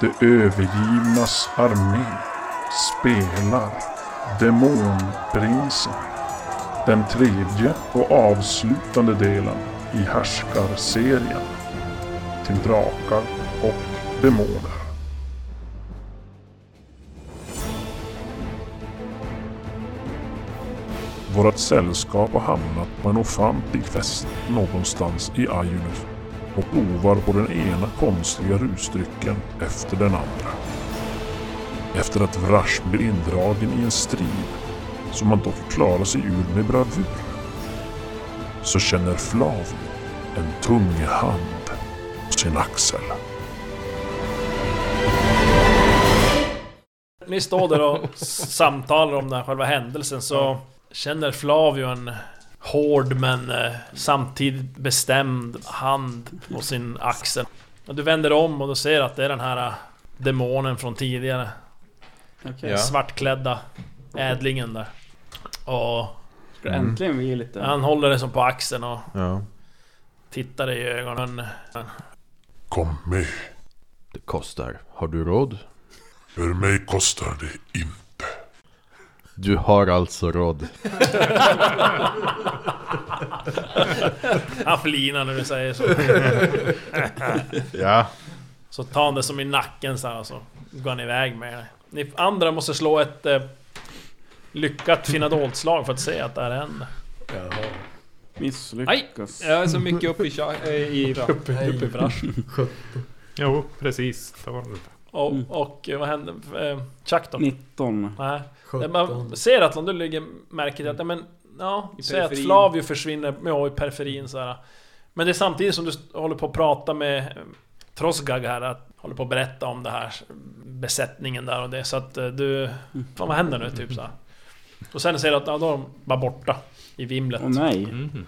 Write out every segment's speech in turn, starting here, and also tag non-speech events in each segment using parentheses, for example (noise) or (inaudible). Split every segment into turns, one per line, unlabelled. De övergivnas armé spelar Demonprinsen. Den tredje och avslutande delen i Härskarserien. Till drakar och demoner. Vårat sällskap har hamnat på en ofantlig fest någonstans i Ajunuf och provar på den ena konstiga rusdrycken efter den andra. Efter att Vrash blir indragen i en strid som han dock klarar sig ur med bravur så känner Flavio en tung hand på sin axel.
Ni står där och s- samtalar om den här själva händelsen så känner Flavio en hård men eh, samtidigt bestämd hand på sin axel. Och du vänder om och du ser att det är den här eh, demonen från tidigare. Den
Ja.
svartklädda ädlingen där. Och
Ska
Mm.
äntligen vi ge lite...
han håller dig som på axeln och
Ja.
tittar dig i ögonen.
Kom med,
Det kostar. Har du råd?
för mig kostar det inte.
Du har alltså råd.
Han flinar när du säger så.
Ja.
Så tar han det som i nacken så här och så går han iväg med det. Ni andra måste slå ett eh, lyckat finadoltslag för att se att det här händer.
Misslyckas.
Jag är så mycket uppe i, tja- eh, i, uppe,
Uppe i branschen.
Jo, precis. Tolv.
Och,
Mm.
och eh, vad händer? Eh, Chuck då?
19.
Nej. Man ser att om du lägger märke till att, ja, men, ja,
Mm. I
säg att
periferin.
Flavio försvinner ja, i periferin så här. Men det är samtidigt som du st- håller på att prata med eh, Trosgag här, att, håller på att berätta om det här besättningen där och det, så att eh, du... Fan vad händer nu? Typ så här. Och sen ser du att, ja, då är de bara borta i vimlet.
Åh nej.
Mm.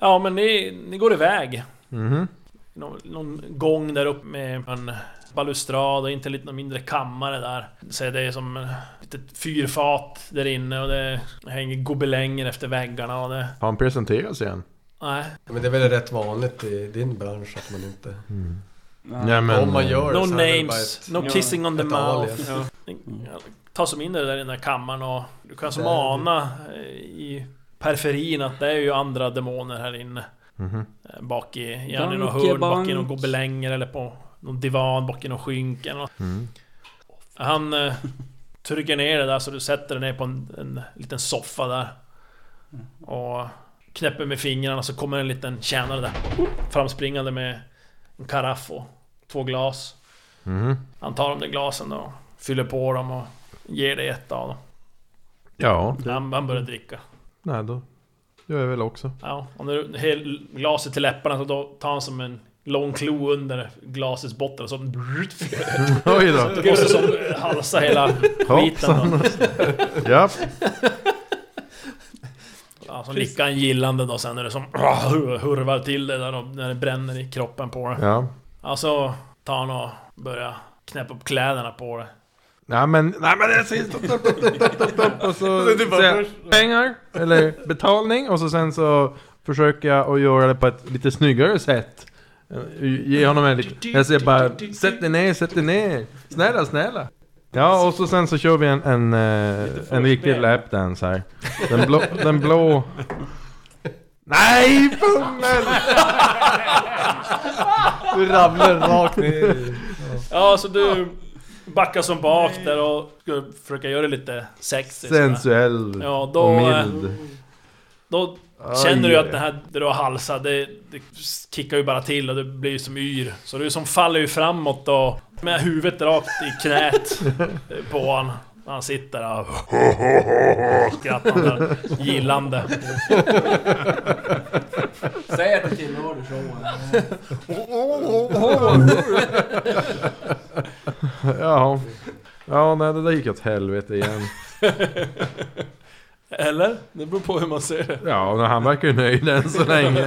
Ja men ni, ni går iväg.
Mhm.
någon, någon gång där uppe med en balustrad och inte lite någon mindre kammare där. Så det är som ett litet fyrfat där inne och det hänger gobelänger efter väggarna och det...
Har han presenterat sig än?
Nej.
Men det är väl rätt vanligt i din bransch att man inte...
Mm. Nej men...
Om man gör det
No
så är det väl bara
names,
ett...
no kissing on the
ett
mouth.
alias.
Ja. Ta som in dig där i den där kammaren och du kan som
Där.
ana eh, i periferin att det är ju andra demoner här inne.
Mhm.
Eh, Bak i, gärna i något
Banke,
hörn, bak i
bank.
någon gobelänger eller på någon divan, bak i någon skynke eller något.
Mm.
Han eh, trycker ner det där så du sätter dig ner på en, en liten soffa där. Och knäpper med fingrarna så kommer en liten tjänare där. Framspringande med en karaff och två glas.
Mhm.
Han tar de där glasen och fyller på dem och ger dig ett av dem.
Ja.
Han, han börjar dricka.
Nej då. Gör jag väl
(laughs)
också.
Ja, och när du hel, glaset till läpparna så då tar han som en lång klo under glasets botten och så...
Oj då.
Och så som halsar hela skiten. Då.
Hoppsan. Ja.
Ja, så nickar han gillande då sen när det som (laughs) hurvar till det där då, när det bränner i kroppen på det.
Ja.
Ja, så tar han och börjar knäppa upp kläderna på det.
Nej men, nej men det är sist. Stopp, stopp, stopp, stopp, stopp, stopp. Och så säger jag pengar, eller betalning. Och så sen så försöker jag att göra det på ett lite snyggare sätt. Eh, Ge honom en liten... Jag säger bara sätt dig ner, sätt dig ner. Snälla, snälla. Ja, och så sen så kör vi en, en, eh, en riktig lapdance här. Den blå... Den blå... Nej, fummel!
Du ramlar rakt ner.
Ja, så du backar som bak där och ska försöka göra det lite sexy. sådär.
Sensuell
Ja, då,
och
eh,
mild.
då känner du att den här där du har halsat, det, det kickar ju bara till och du blir ju som yr. Så du som faller ju framåt och med huvudet rakt i
(laughs)
knät på honom. Han sitter där
(laughs)
och skrattar gillande.
Säg att det tillhör showen.
Ja. Ja, nej det där gick åt helvete igen.
Eller? Det beror på hur man ser det.
Ja, men han verkar ju nöjd än så länge.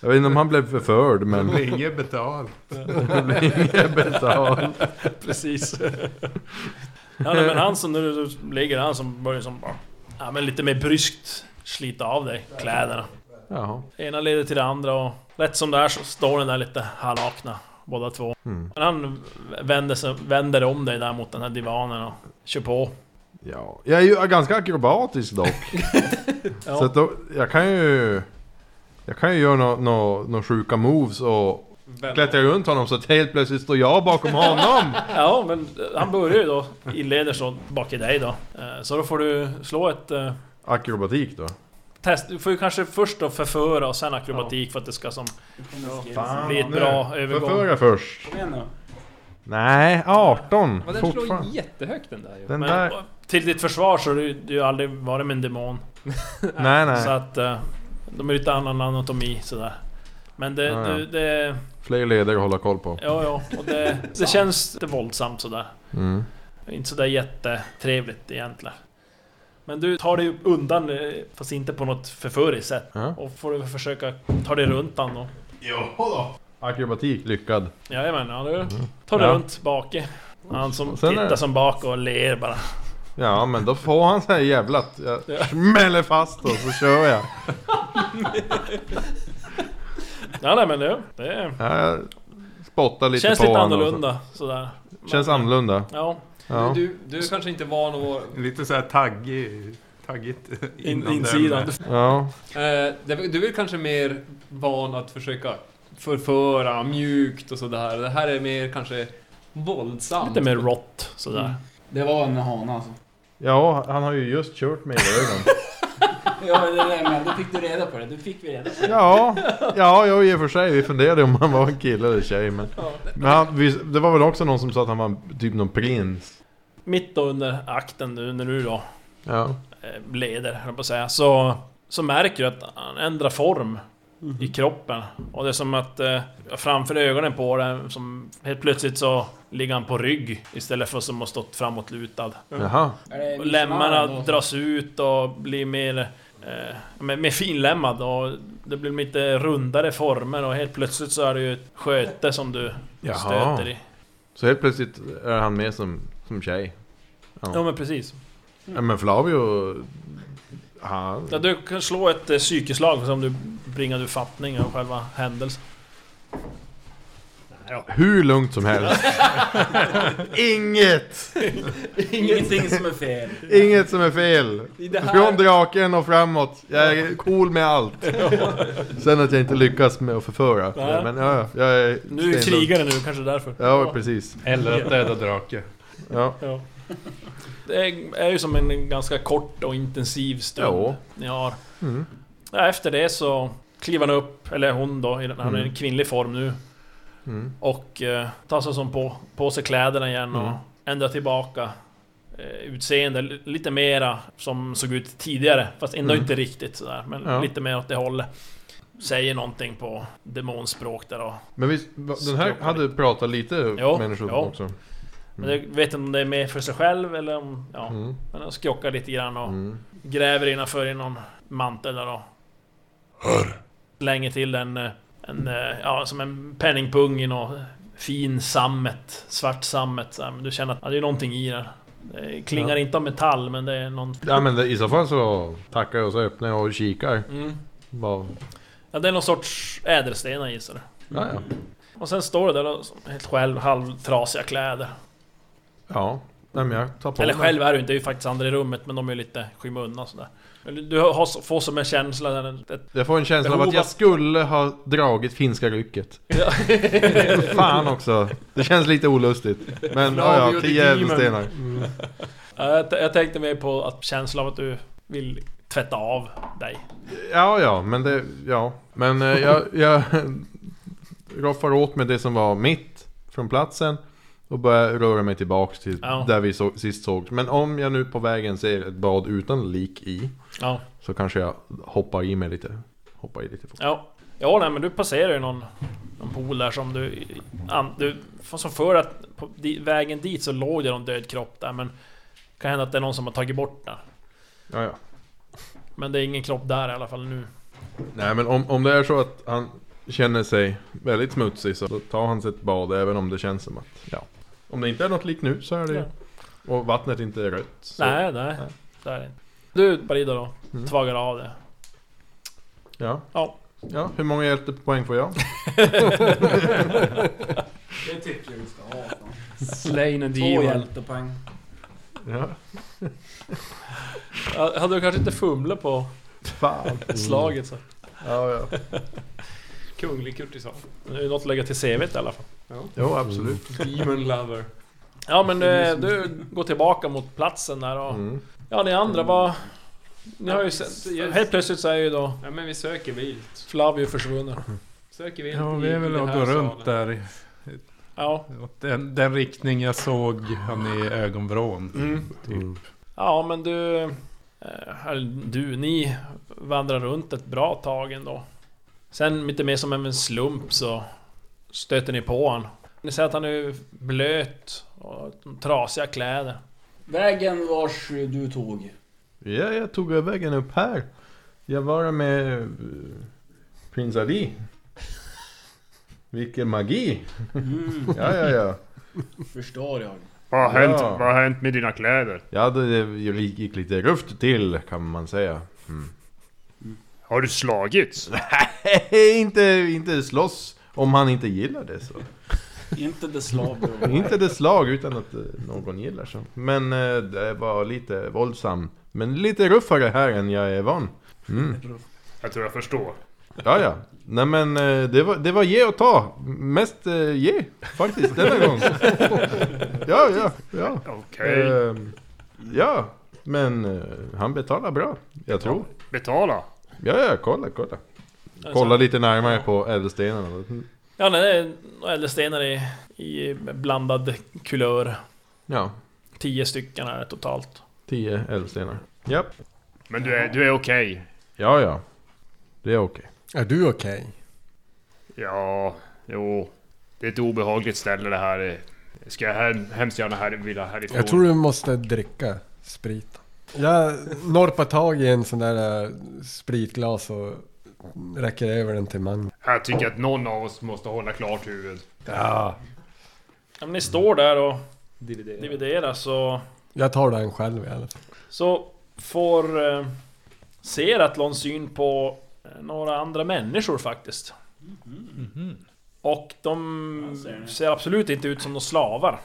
Jag vet inte om han blev förförd, men
Inget betalt.
det blev inget betalt.
Precis. (laughs) ja, nej, men han som nu ligger, han som börjar som bara... Ja, men lite mer bryskt slita av dig kläderna.
Jaha.
Ena leder till det andra och rätt som det är så står den där lite halvnakna båda två.
Mm.
Men han vänder, sig, vänder om dig där mot den här divanen och kör på.
Ja, jag är ju ganska akrobatisk dock. Så att då, jag kan ju... Jag kan ju göra några nå nå sjuka moves och klättra runt honom så att helt plötsligt står jag bakom honom.
Ja, men han börjar ju då, inleder så bak i dig då. Eh, Så då får du slå ett... eh,
Akrobatik då.
Test, du får ju kanske först då förföra och sen akrobatik för att det ska som bli ett bra övergång.
Förföra först.
Kom igen då.
Nej, 18.
Men den slår
Fortfarande.
ju jättehögt den där ju.
Den
Men
där...
till ditt försvar så har du du har ju aldrig varit med en demon.
Nej,
Så
nej.
att eh, de är lite annan anatomi sådär. Men det,
Ja, ja.
du, det,
Fler leder att hålla koll på.
ja, ja, och
(laughs)
det, det känns lite våldsamt sådär.
Mm.
Inte sådär jättetrevligt egentligen. Men du tar dig undan, eh, fast inte på något förföriskt sätt.
Ja.
Och får du försöka ta dig runt han då.
Akrobatik lyckad.
Jajamän, ja, du tar dig
Mm. Ja.
runt bake. Han som
Sen är
tittar
det-
som bak och ler bara.
Ja, men då får han säga jävlat.
Ja.
Jag smäller fast och så kör jag.
Ja, nej men det, det
Ja, jag spottar lite
känns
på
lite
honom alltså. och så.
annorlunda sådär. Men,
Känns annorlunda.
Ja,
Ja.
Du, du är kanske inte van att vara...
Lite så här taggig... Taggigt. (laughs)
in,
inom
insidan.
den.
Ja.
Eh, det- du är kanske mer van att försöka förföra mjukt och sådär. Det här är mer kanske våldsamt.
Lite mer rått sådär.
Mm.
Det var en hane alltså.
ja, han har ju just kört mig
(laughs)
i ögonen.
Ja, men det där med, då fick du reda på det. Du fick vi reda på det.
Ja, ja, jag i och för sig. Vi funderade om han var en kille eller tjej. Men, men han, vi, det var väl också någon som sa att han var typ någon prins.
Mitt då under akten nu när du då
Ja.
eh, leder, höll jag på att säga, så, så märker du att han ändrar form i kroppen. Och det är som att eh, framför ögonen på den, som helt plötsligt så ligger han på rygg istället för som att stått framåtlutad.
Jaha.
Är det
Och
Miss
Lemmarna
Mm.
Marvel då?
dras ut och blir mer, eh, mer, mer finlämmad och det blir lite rundare former och helt plötsligt så är det ju ett sköte som du
Jaha.
stöter i.
Så helt plötsligt är han med som, som tjej.
Ja men precis.
Ja, men Flavio... Han,
Ja, du kan slå ett eh, psykeslag som du bringar ur fattning av själva händelsen.
hur lugnt
(laughs)
som helst. Inget!
Ingenting som är fel.
Inget som är fel.
I det
Från
här,
draken och framåt. Jag är cool med allt. Sen att jag inte lyckas med att förföra.
Nej.
Men ja, ja, jag är...
Nu är
stenlugn.
krigare nu, kanske därför.
Ja, precis.
Eller att döda drake.
Ja.
Ja. Det är- är ju som en ganska kort och intensiv stund
Ja.
ni har.
Mm.
Ja, Efter det så kliver han upp, eller hon då, i den- han är i
Mm.
kvinnlig form nu.
Mm.
Och eh, tar sig som på, på sig kläderna igen och
Mm.
ändrar tillbaka eh, utseende li- lite mera som såg ut tidigare. Fast ändå
Mm.
inte riktigt sådär, men
Ja.
lite mer åt det hållet. Säger någonting på demonspråk där och...
Men visst, va- den här
Skrockar
hade pratat lite
Jo,
människor
jo.
också?
Men jag vet inte om det är mer för sig själv eller om... Ja,
Mm.
men han skrockar lite grann och
Mm.
gräver innanför i någon mantel där och...
Hör!
Slänger till en... eh, en eh, ja, som en penningpung i någon fin sammet. Svart sammet så här, Men du känner att ja, det är någonting i den. Det klingar inte av metall men det är någon...
Ja men det- i så fall så tackar jag och så öppnar jag och kikar.
Mm.
Bara,
Ja, det är någon sorts ädelstenar gissar du.
ja, ja.
Och sen står du där då, som helt själv, halvtrasiga kläder.
ja. Nej, men jag tar på
Eller
mig.
själv är du inte, det är ju faktiskt andra i rummet men de är ju lite skymundan sådär. Men Du har, så- får som en känsla, där, ett
Jag får en känsla av
Behov
att jag
av-
skulle ha dragit finska rycket. (laughs) Fan också. Det känns lite olustigt. Men ja, ja,
Flavio the
tio
Demon.
ädelstenar.
Ja, Jag, t- jag tänkte mer på att känslan av att du vill tvätta av dig.
Ja, ja, men det, ja. Men eh, jag, jag (laughs) roffar åt mig det som var mitt från platsen och börjar röra mig tillbaks till
Ja.
där vi så, sist såg. Men om jag nu på vägen ser ett bad utan lik i
Ja.
så kanske jag hoppar i mig lite. Hoppar i lite fort.
Ja, ja nej, men du passerar ju någon, någon pool där som du... An, du som för att på di, vägen dit så låg det någon död kropp där men... Det kan hända att det är någon som har tagit bort den.
Ja, ja.
Men det är ingen kropp där i alla fall nu.
Nej, men om, om det är så att han känner sig väldigt smutsig så då tar han sig ett bad även om det känns som att, ja. Om det inte är något lik nu så är det ju... Och vattnet inte är rött. Så,
Nej, nej.
nej.
Det är det inte. Du Barida då,
Mm.
tvagar av det.
Ja.
Ja.
Ja, hur många hjältepoäng får jag?
Det tycker jag vi ska ha. fan.
Slain and
Två
evil.
hjältepoäng.
(laughs) Ja.
Ja, Hade du kanske inte fumlat på
Fan. Mm.
slaget så.
Ja, ja.
Kunglig kurtisan.
Det är ju något att lägga till CVt i alla fall.
Jo, absolut.
Demon lover.
Ja men eh, du går tillbaka mot platsen där och...
Mm.
Ja ni andra vad... Ni har ju sett... Mm. Helt plötsligt så är ju då
Ja men vi söker vilt.
Flavio försvunnen.
Söker vilt
Ja,
i-
vi är
i
väl
den
att
här
gå
salen.
runt där.
Ja.
Åt Den, den riktning jag såg han i ögonvrån.
Mm.
Ja men du... eh, Eller du, ni vandrar runt ett bra tag ändå. Sen lite mer som av en slump så stöter ni på han. Ni ser att han är blöt och trasiga kläder.
Vägen vars du tog.
Ja, jag tog över vägen upp här. Jag var med eh, prins Ali. Vilken magi!
Mm,
(laughs) Ja, ja, ja.
förstår jag.
Vad har, hänt,
Ja.
vad har hänt med dina kläder?
Ja, det det gick lite rufft till kan man säga.
Har du slagits?
Nej, (laughs) inte, inte slåss om han inte gillar det så.
Inte det slav
(laughs)
då.
Inte det slag utan att eh, någon gillar så. Men eh, det var lite våldsam. Men lite ruffare här än jag är van. Mm.
Jag tror jag förstår.
Ja, ja. Nej men eh, det var, det var ge och ta. Mest eh, ge faktiskt denna
(laughs)
gång. Ja, ja, ja.
Okej.
Ehm, Ja, men eh, han betalar bra. Jag tror.
Betala.
Ja, ja, kolla, kolla. Kolla lite närmare på ädelstenarna.
Ja nej, det är några ädelstenar i, i blandad kulör.
Ja,
Tio stycken är det totalt.
tio ädelstenar. Japp.
Men du är, du är okej.
Ja, ja. Det är okej.
Är du okej?
Ja, jo. Det är ett obehagligt ställe det här. Ska jag hem, hemskt gärna här, vilja härifrån?
Jag tror du måste dricka sprit. Jag norpar tag i en sån där eh, spritglas och räcker över den till Magnus.
Här tycker jag att någon av oss måste hålla klart huvud.
Ja.
Ja, men ni står där och
Dividera.
dividerar så...
Jag tar den själv i alla fall.
Så får... Eh, ser Atlon syn på eh, några andra människor faktiskt. Och
Ja,
de
ser ni.
ser absolut inte ut som några slavar.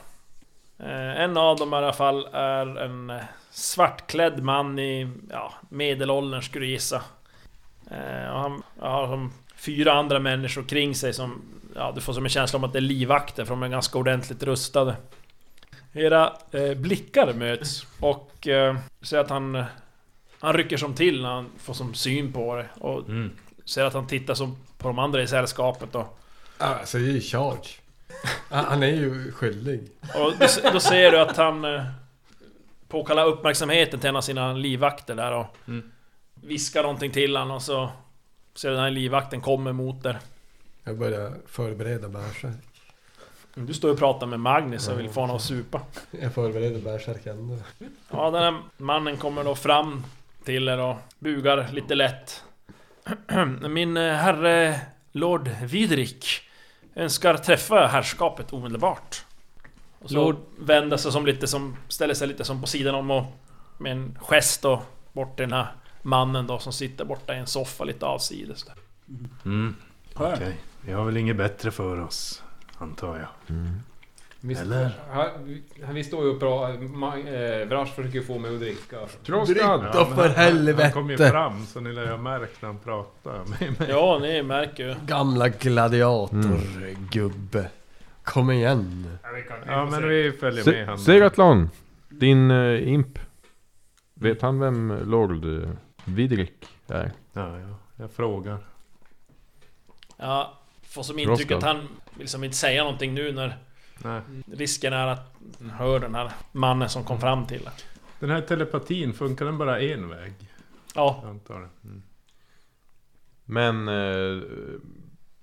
Eh, en av dem i alla fall är en eh, svartklädd man i ja, medelåldern skulle jag gissa. Eh, och han har som fyra andra människor kring sig som... Ja, du får som en känsla om att det är livvakter för de är ganska ordentligt rustade. Era eh, blickar möts och eh, ser att han... eh, Han rycker som till när han får som syn på det och ser att han tittar som på de andra i sällskapet och...
Alltså, jag är ju charge. Han han är ju skyldig.
Och då- då ser du att han eh, påkallar uppmärksamheten till en av sina livvakter där och viskar någonting till honom och så ser du den här livvakten kommer mot er.
Jag börjar förbereda bärsärk.
Du står och pratar med Magnus och vill få honom att supa.
Jag förbereder bärsärk ändå.
Ja, den här mannen kommer då fram till er och bugar lite lätt. (clears throat) Min eh, herre Lord Vidrik önskar träffa herrskapet omedelbart. Och så
Lord-
vänder sig som lite som, ställer sig lite som på sidan om och med en gest då bort till den här mannen då som sitter borta i en soffa lite avsides. Där.
Mm.
Skönt.
Okej. Vi har väl inget bättre för oss. Antar jag.
Visst-
Eller?
Här, vi- här, vi står ju upp bra. Ma- eh, Vrash försöker få mig att dricka.
Tråkstad!
Han
Då för
kom ju
helvete!
fram så ni lär ju ha märkt när han (laughs) pratade med mig.
Ja, ni märker ju.
Gamla Mm. gladiatorgubbe. Kom igen.
Ja, vi kan, vi
Ja
får
men
se.
vi följer med han.
Seratlon! Din eh, imp. Vet han vem Lord eh, Vidrik är?
Ja, ja. Jag frågar.
Ja, får som intryck
Roskal.
att han vill som inte säga någonting nu när
Nej.
risken är att hör den här mannen som kom fram till er.
Den här telepatin, funkar den bara en väg?
Ja,
Jag antar det. Mm.
Men eh,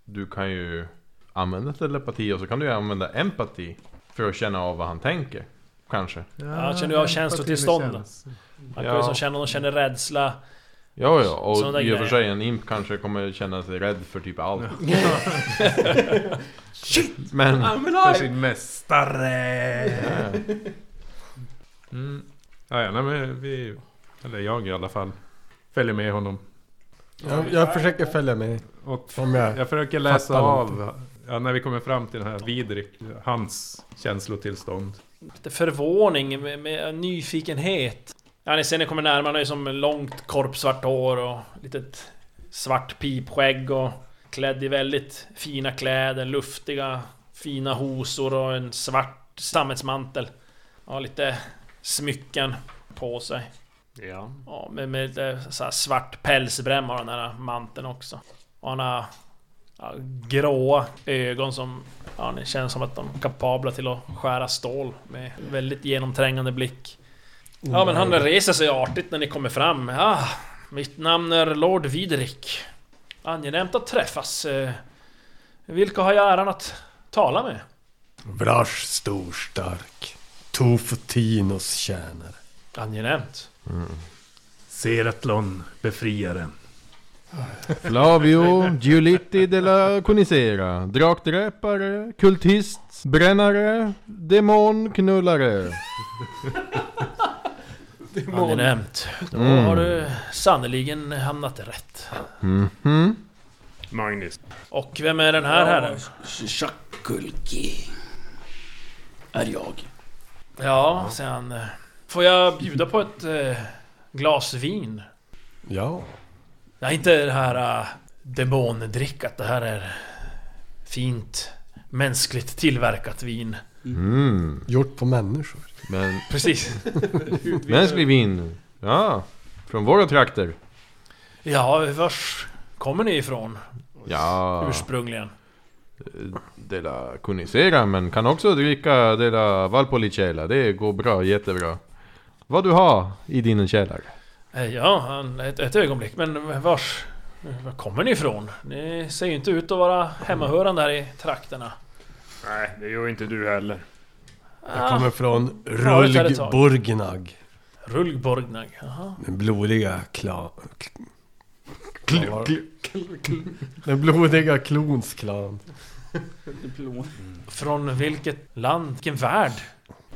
du kan ju använda telepati och så kan du ju använda empati för att känna av vad han tänker. Kanske.
Ja, känner du av känslotillstånd då?
Känns-
Man kan ju
Ja.
som känna, de känner rädsla.
Ja, ja.
Sådana
Och
där
i och för
grejer.
sig en imp kanske kommer känna sig rädd för typ allt. Shit! (laughs) Men...
För sin mästare!
eh,
Mm. Ja, ja, nej, men vi... Eller jag i alla fall. Följer med honom.
Jag, jag försöker följa med.
Och
Om jag...
jag försöker läsa
Fattar
av... ja, när vi kommer fram till den här Vidrik, hans känslotillstånd.
Lite förvåning, med, med nyfikenhet. Ja, ni ser ni kommer närmare, han har ju som långt korpsvart hår och litet svart pipskägg och klädd i väldigt fina kläder, luftiga, fina hosor och en svart sammetsmantel. Ja, lite smycken på sig.
Ja.
Ja, med, med lite så här svart pälsbräm har den här manteln också. Och han har ja, gråa ögon som... Ja, det känns som att de är kapabla till att skära stål med väldigt genomträngande blick. Ja, men han reser sig artigt när ni kommer fram. Ja, mitt namn är Lord Vidrik. Angenämt att träffas. Eh, Vilka har jag äran att tala med?
Vrash stor stark. Tofotinos tjänare.
Angenämt.
Seratlon, befriaren.
Flavio Giulitti della Conicera. Drakdräpare, kultist, brännare, demonknullare.
Angenämt. Då
Mm.
har du sannerligen hamnat rätt.
Mhm.
Magnus.
Och vem är den här herren?
Shakulki. Är jag.
Ja, säger han. Får jag bjuda på ett eh, glas vin?
Ja.
Nej, inte det här äh, demondrickat. Det här är fint, mänskligt tillverkat vin.
Mm.
Gjort på människor.
Men
Precis.
mänsklig vin. Ja, från våra trakter.
(laughs) Ja, vars kommer ni ifrån
Ja,
ursprungligen?
della Conicera men kan också dricka della Valpolicella. Det går bra, jättebra. Vad du har i din källare?
Eh, Ja, han- ett, ett ögonblick. Men vars... Var kommer ni ifrån? Ni ser ju inte ut att vara hemmahörande här i trakterna.
Nej, det gör inte du heller.
Jag
Ah.
kommer från
varit här ett tag.
Rulgburgnag.
Rullborgnag, jaha.
Den blodiga klan... Den blodiga klons klan.
Diplom.
Från vilket land? Vilken värld?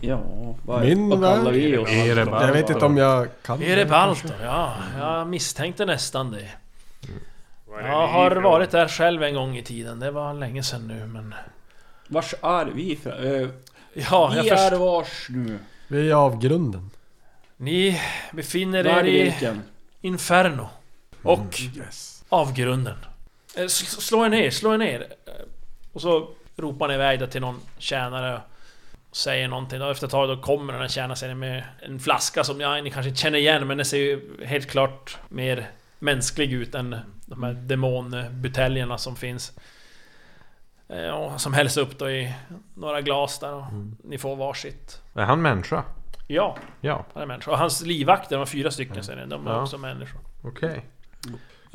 Ja, vad,
Min
vad kallar
värld.
vi oss?
Jag vet inte om jag kan
Är det Baltor? Ja, jag misstänkte nästan det.
Var är
Jag
ni
har
ifrån?
varit där själv en gång i tiden. Det var länge sedan nu, men...
Vars är vi ifrån? Eh,
Ja, jag
vi är
förstår.
vars nu.
Vi är avgrunden. (laughs)
Ni befinner er i
Värdeviken.
Inferno. Och avgrunden. Eh, sl- Slå er ner, slå er ner. Eh, Och så ropar ni iväg det till någon tjänare. Och säger någonting. Och efter ett tag då kommer den här tjänaren säger med en flaska som ja, ni kanske inte känner igen. Men den ser ju helt klart mer mänsklig ut än de här demonbuteljerna som finns. Eh, Och som hälls upp då i några glas där. Och ni får varsitt.
Är han människa?
Ja,
Ja,
han är människa. Och hans livvakter, de var fyra stycken säger ni. De är
Ja.
också människor.
okej.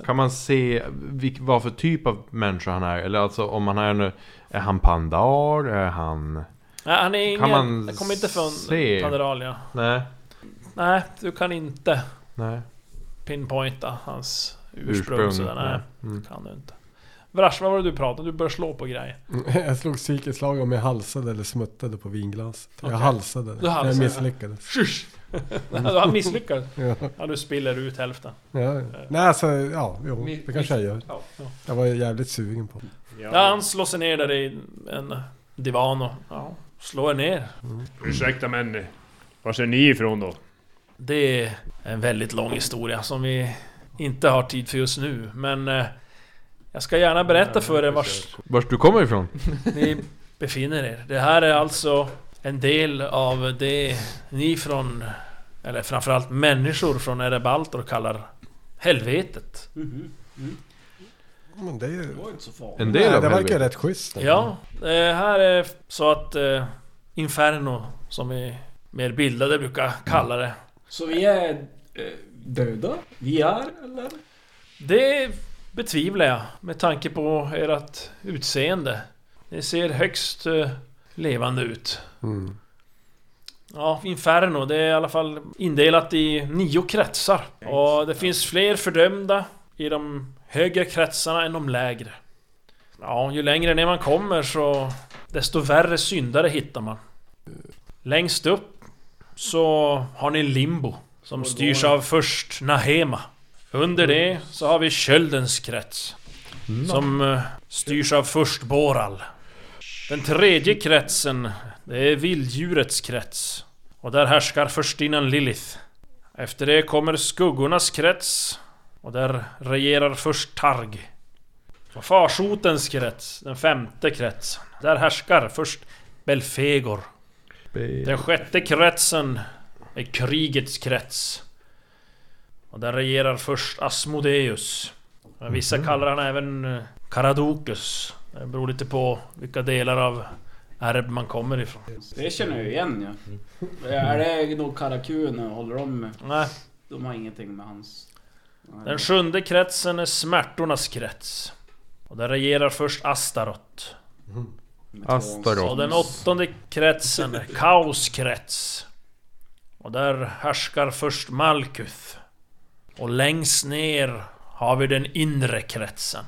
Kan man se vilk, vad för typ av människa han är? Eller alltså om han är en... Är han pandar? Är han...
Nej, han är ingen...
Kan man
han kommer inte från
se?
Panderalia.
Nej,
Nej, du kan inte
nej.
pinpointa hans ursprung.
Ursprung,
sådär. Nej,
nej. Mm.
det kan du inte. Vrash, vad var det du pratade om? Du började slå på grejer.
Jag slog psykiskt slag om jag halsade eller smuttade på vinglaset. Jag
Okej.
halsade. det.
Du halsade.
Jag misslyckades.
(laughs) Han misslyckades.
Ja.
Ja, du spiller ut hälften.
Ja. Nej alltså, ja, jo,
Mi-
det kanske jag gör.
Ja,
Jag var jävligt sugen på det.
Ja,
Ja.
han slår sig ner där i en divan och... Ja, slår er ner.
Ursäkta men, eh, var är ni ifrån då?
Det är en väldigt lång historia som vi inte har tid för just nu, men... eh, Jag ska gärna berätta för er vars
Vart du kommer ifrån?
ni befinner er. Det här är alltså en del av det ni från, eller framförallt människor från Erebaltor kallar helvetet.
Mhm.
Men det, är ju-
Det var inte så farligt.
En del
nej,
av
det verkar ju
helvetet.
rätt schysst.
Ja, det här är så att eh, Inferno, som vi mer bildade brukar kalla det.
Så vi är eh, döda? Vi är, eller?
Det betvivlar jag med tanke på ert utseende. Ni ser högst eh, levande ut.
Mm.
Ja, Inferno, det är i alla fall indelat i nio kretsar. Och det finns fler fördömda i de högre kretsarna än de lägre. Ja, ju längre ner man kommer så desto värre syndare hittar man. Längst upp så har ni Limbo, som styrs av först Nahema. Under det så har vi Köldens krets. Som eh, styrs av först Boral. Den tredje kretsen, det är vilddjurets krets. Och där härskar förstinnan Lilith. Efter det kommer skuggornas krets. Och där regerar först Targ. Och farsotens krets, den femte kretsen. Där härskar först Belfegor. Den sjätte kretsen är krigets krets. Och där regerar först Asmodeus. Men vissa kallar han även eh, Karadokus. Det beror lite på vilka delar av Erb man kommer ifrån.
Det känner jag ju igen ja. Är det nog Karakun och håller de med?
Nej.
De har ingenting med hans... Nej.
Den sjunde kretsen är smärtornas krets. Och där regerar först Astaroth.
med två
Astaroth.
Och den åttonde kretsen är kaoskrets. Och där härskar först Malkuth. Och längst ner har vi den inre kretsen.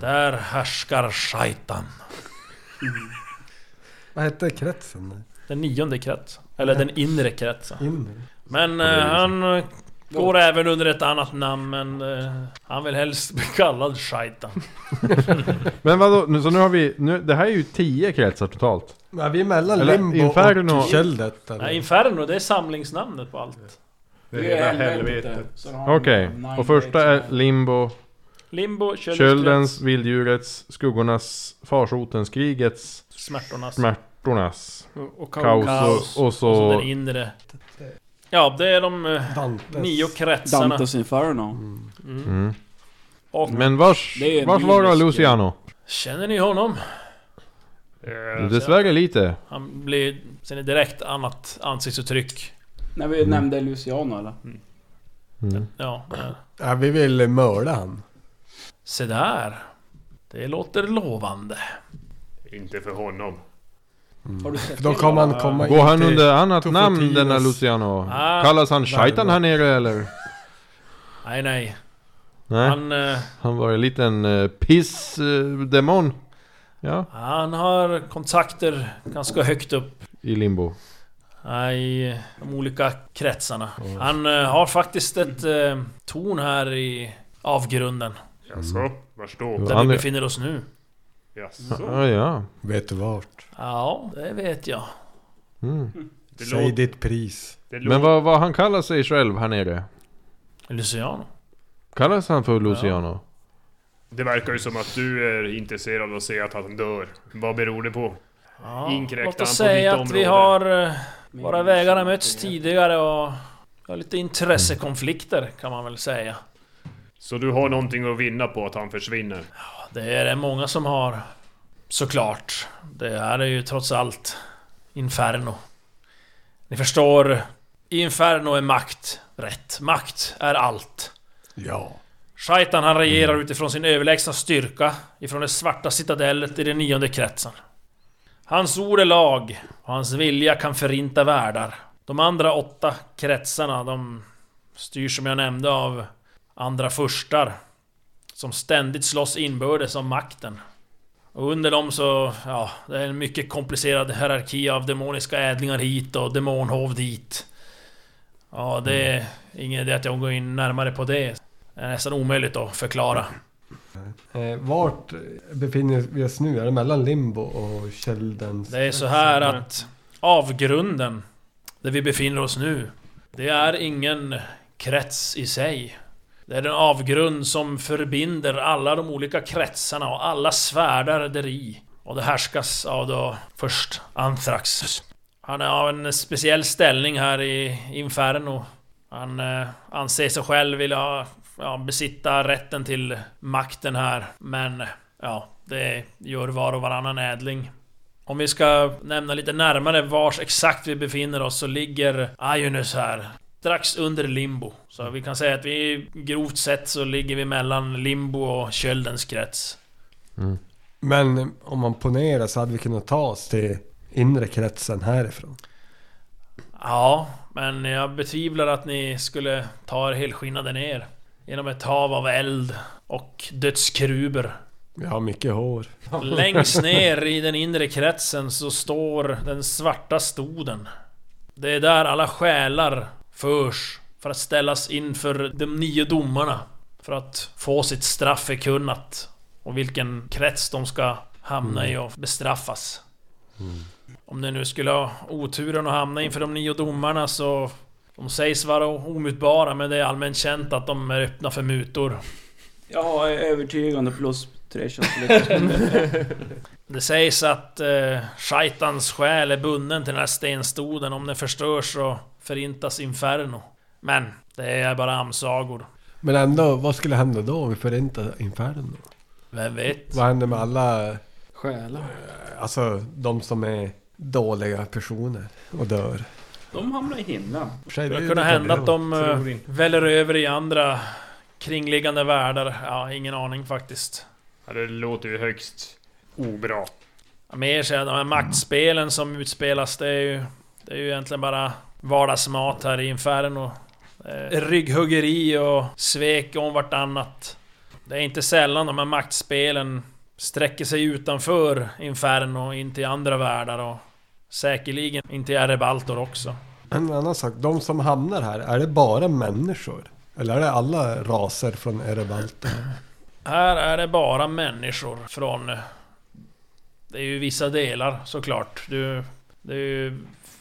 Där härskar Shaitan.
Vad hette kretsen?
Den nionde kretsen. Eller den inre kretsen.
In.
Men eh, han eh,
liksom-
går även under ett annat namn men eh, han vill helst bli kallad Shaitan.
Men vadå, nu, så nu har vi, nu, det här är ju 10 kretsar totalt.
Ja, vi är mellan
Eller
Limbo
Inferno.
och Köldet. eller?
Nej, Inferno det är samlingsnamnet på allt.
Det är hela helvetet. Sen har de
Okej,
nine
och första är
dates.
Limbo,
Limbo, köldens,
Köldens, Vilddjurets, Skuggornas, Farsotens, Krigets,
krets, smärtornas.
Smärtornas,
Och
Kaos,
Kaos.
och, och
Och så
så...
Alltså, den inre. Ja, det är de eh,
Dantes.
nio kretsarna.
Dantes Inferno.
Mm.
Mm.
Och
Men vars,
Det är
vars var då
minus-
Luciano?
känner ni honom?
Dessvärre lite.
Han blir... Sen är direkt annat ansiktsuttryck.
När vi nämnde Luciano eller?
Mm.
Ja, eh,
Ja, vi vill mörda han.
se där. Det låter lovande.
Inte för
Mm.
honom.
Har du sett
Då
till
kommer han
honom?
komma
Går han
till-
under annat
Tofotios.
namn denna Luciano?
Ah.
Kallas han Shaitan här nere eller?
Nej, nej.
Nej, han,
Han, eh,
var en liten uh, pissdemon. eh, ja,
han har kontakter ganska högt upp
i limbo.
eh, i de olika kretsarna.
Mm.
Han eh, har faktiskt ett eh, torn här i avgrunden.
Jaså? Vars då?
Ja.
Där
han
vi
är-
befinner oss nu.
Jaså?
Ah, ja.
Vet du vart?
Ja, det vet jag.
Mm.
Det
Säg
låter...
ditt pris.
Det
Men
låter...
vad, vad han kallar sig själv här nere?
Luciano.
Kallas han för Luciano?
Det verkar ju som att du är intresserad av att se att han dör. Vad beror det på?
Ja,
Inkräktar
låt
han
oss
på ditt
säga att vi
område?
har... eh, Våra
Min-
vägar har mötts tidigare och... Vi har lite intressekonflikter kan man väl säga.
Så du har någonting att vinna på att han försvinner?
Det är det många som har. Såklart. Det här är ju trots allt Inferno. Ni förstår. I Inferno är makt rätt. Makt är allt.
Ja.
Shaitan han regerar utifrån sin överlägsna styrka ifrån det svarta citadellet i den nionde kretsen. Hans ord är lag och hans vilja kan förinta världar. De andra åtta kretsarna de styrs som jag nämnde av andra furstar som ständigt slåss inbördes om makten. Och under dem så, ja, det är en mycket komplicerad hierarki av demoniska ädlingar hit och demonhov dit. Ja, det är ingen idé att jag går in närmare på det. Det är nästan omöjligt att förklara.
Eh, vart befinner vi oss nu? Är det mellan Limbo och Köldens?
Det är så här att avgrunden, där vi befinner oss nu, det är ingen krets i sig. Det är den avgrund som förbinder alla de olika kretsarna och alla svärdar där i. Och det härskas av då först Anthrax. Han har en speciell ställning här i Inferno. Han eh, anser sig själv vilja ja, besitta rätten till makten här. Men ja, det gör var och varannan ädling. Om vi ska nämna lite närmare vars exakt vi befinner oss så ligger Ionus här. Strax under Limbo. Så vi kan säga att vi grovt sett så ligger vi mellan Limbo och Köldens krets.
Men om man ponerar så hade vi kunnat ta oss till inre kretsen härifrån.
Ja, men jag betvivlar att ni skulle ta er helskinnade ner. Genom ett hav av eld och dödskruber.
Vi har mycket hår.
Längst ner i den inre kretsen så står den svarta stoden. Det är där alla själar förs för att ställas inför de nio domarna. För att få sitt straff förkunnat. Och vilken krets de ska hamna i och bestraffas. Om ni nu skulle ha oturen att hamna inför de nio domarna så... De sägs vara omutbara men det är allmänt känt att de är öppna för mutor.
Ja, övertygande plus tre
(laughs)
köttbullar.
Det sägs att eh, Shaitans själ är bunden till den här stenstoden. Om den förstörs så förintas Inferno. Men det är bara amsagor.
Men ändå, vad skulle hända då om vi förintar Inferno?
Vem vet?
Vad händer med alla,
Själar.
alltså de som är dåliga personer och dör?
De hamnar i himlen.
Det skulle kunna hända att de eh,
Tror inte.
väller över i andra kringliggande världar. Ja, ingen aning faktiskt.
Ja, det låter ju högst obra.
Ja, Mer så är de här maktspelen som utspelas, det är ju... Det är ju egentligen bara vardagsmat här i Inferno. Eh, rygghuggeri och svek om vartannat. Det är inte sällan de här maktspelen sträcker sig utanför Inferno, in till andra världar och säkerligen in till Erebaltor också.
En annan sak, de som hamnar här, är det bara människor? Eller är det alla raser från Erebalta?
Här är det bara människor från... eh, Det är ju vissa delar såklart. Du, det är ju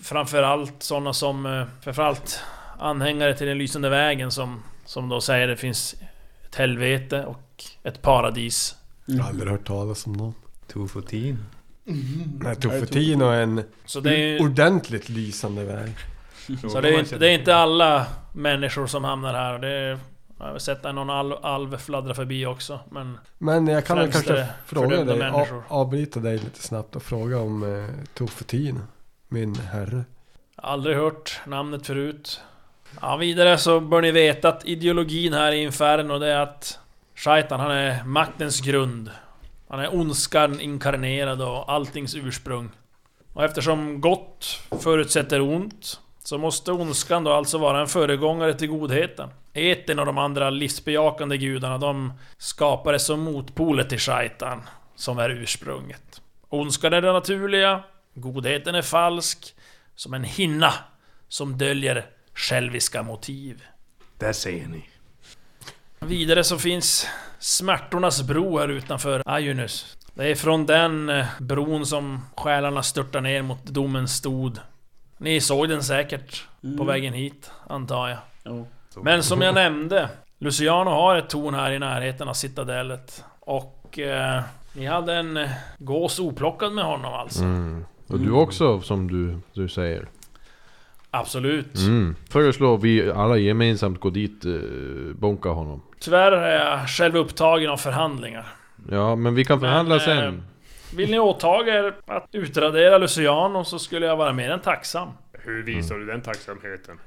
framförallt sådana som... eh, Framförallt anhängare till den lysande vägen som, som då säger det finns ett helvete och ett paradis.
Jag har aldrig hört talas om
Mm.
någon.
Tofotin.
Nej, Tofutino är en
Så det är ju...
ordentligt lysande väg.
Så det är, inte- det är inte alla människor som hamnar här. Det är, jag har sett att någon alv, alv fladdra förbi också. Men
Men jag kan väl
Främst
kanske
är det
fråga
fördömda
dig,
människor.
a- avbryta dig lite snabbt och fråga om eh, Tofutino, min herre.
Jag har Aldrig hört namnet förut. Ja, vidare så bör ni veta att ideologin här i Inferno det är att Shaitan han är maktens grund. Han är ondskan inkarnerad och alltings ursprung. Och eftersom gott förutsätter ont så måste ondskan då alltså vara en föregångare till godheten. Eten och de andra livsbejakande gudarna de skapades som motpoler till Shaitan som är ursprunget. Ondskan är det naturliga, godheten är falsk som en hinna som döljer själviska motiv.
Där ser ni.
Vidare så finns smärtornas bro här utanför Ajunus. Det är från den eh, bron som själarna störtar ner mot domens stod. Ni såg den säkert på vägen hit, antar jag.
Jo.
Men som jag nämnde, Luciano har ett torn här i närheten av citadellet. Och eh, ni hade en eh, gås oplockad med honom alltså.
Mm. Och du också som du, du säger.
Absolut.
Mm. Föreslår vi alla gemensamt gå dit, eh, bonka honom.
Tyvärr är jag själv upptagen av förhandlingar.
Ja, men vi kan förhandla
Men, eh,
sen.
Vill ni åtaga er att utradera Luciano så skulle jag vara mer än tacksam.
Hur visar
Mm.
du den tacksamheten?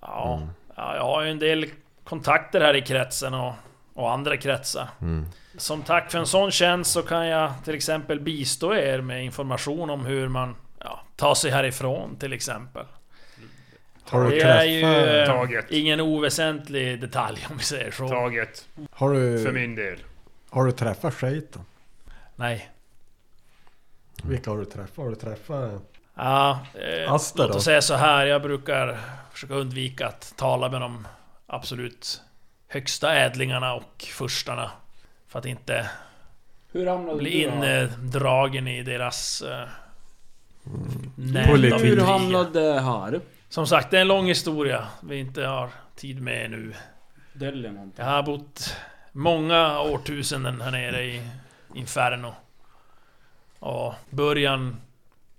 Ja,
Mm.
ja jag har ju en del kontakter här i kretsen och, och andra kretsar.
Mm.
Som tack för en sån tjänst så kan jag till exempel bistå er med information om hur man ja, tar sig härifrån till exempel.
Har du
det är
träffat...
ju eh,
Taget.
ingen oväsentlig detalj om vi säger så.
Taget,
Har
för
du,
min del.
har du träffat Shaitan?
Nej.
Vilka har du träffat? Har du träffat...
Ja, eh,
Asta
låt
då?
oss säga så här. Jag brukar försöka undvika att tala med de absolut högsta ädlingarna och furstarna. För att inte
Hur hamnade
bli
du här?
indragen i deras... Eh,
Mm. Politik.
nät
Hur
av intriger.
hamnade här?
Som sagt, det är en lång historia vi inte har tid med nu.
Döljer någonting.
Jag har bott många årtusenden här nere i Inferno. Och början,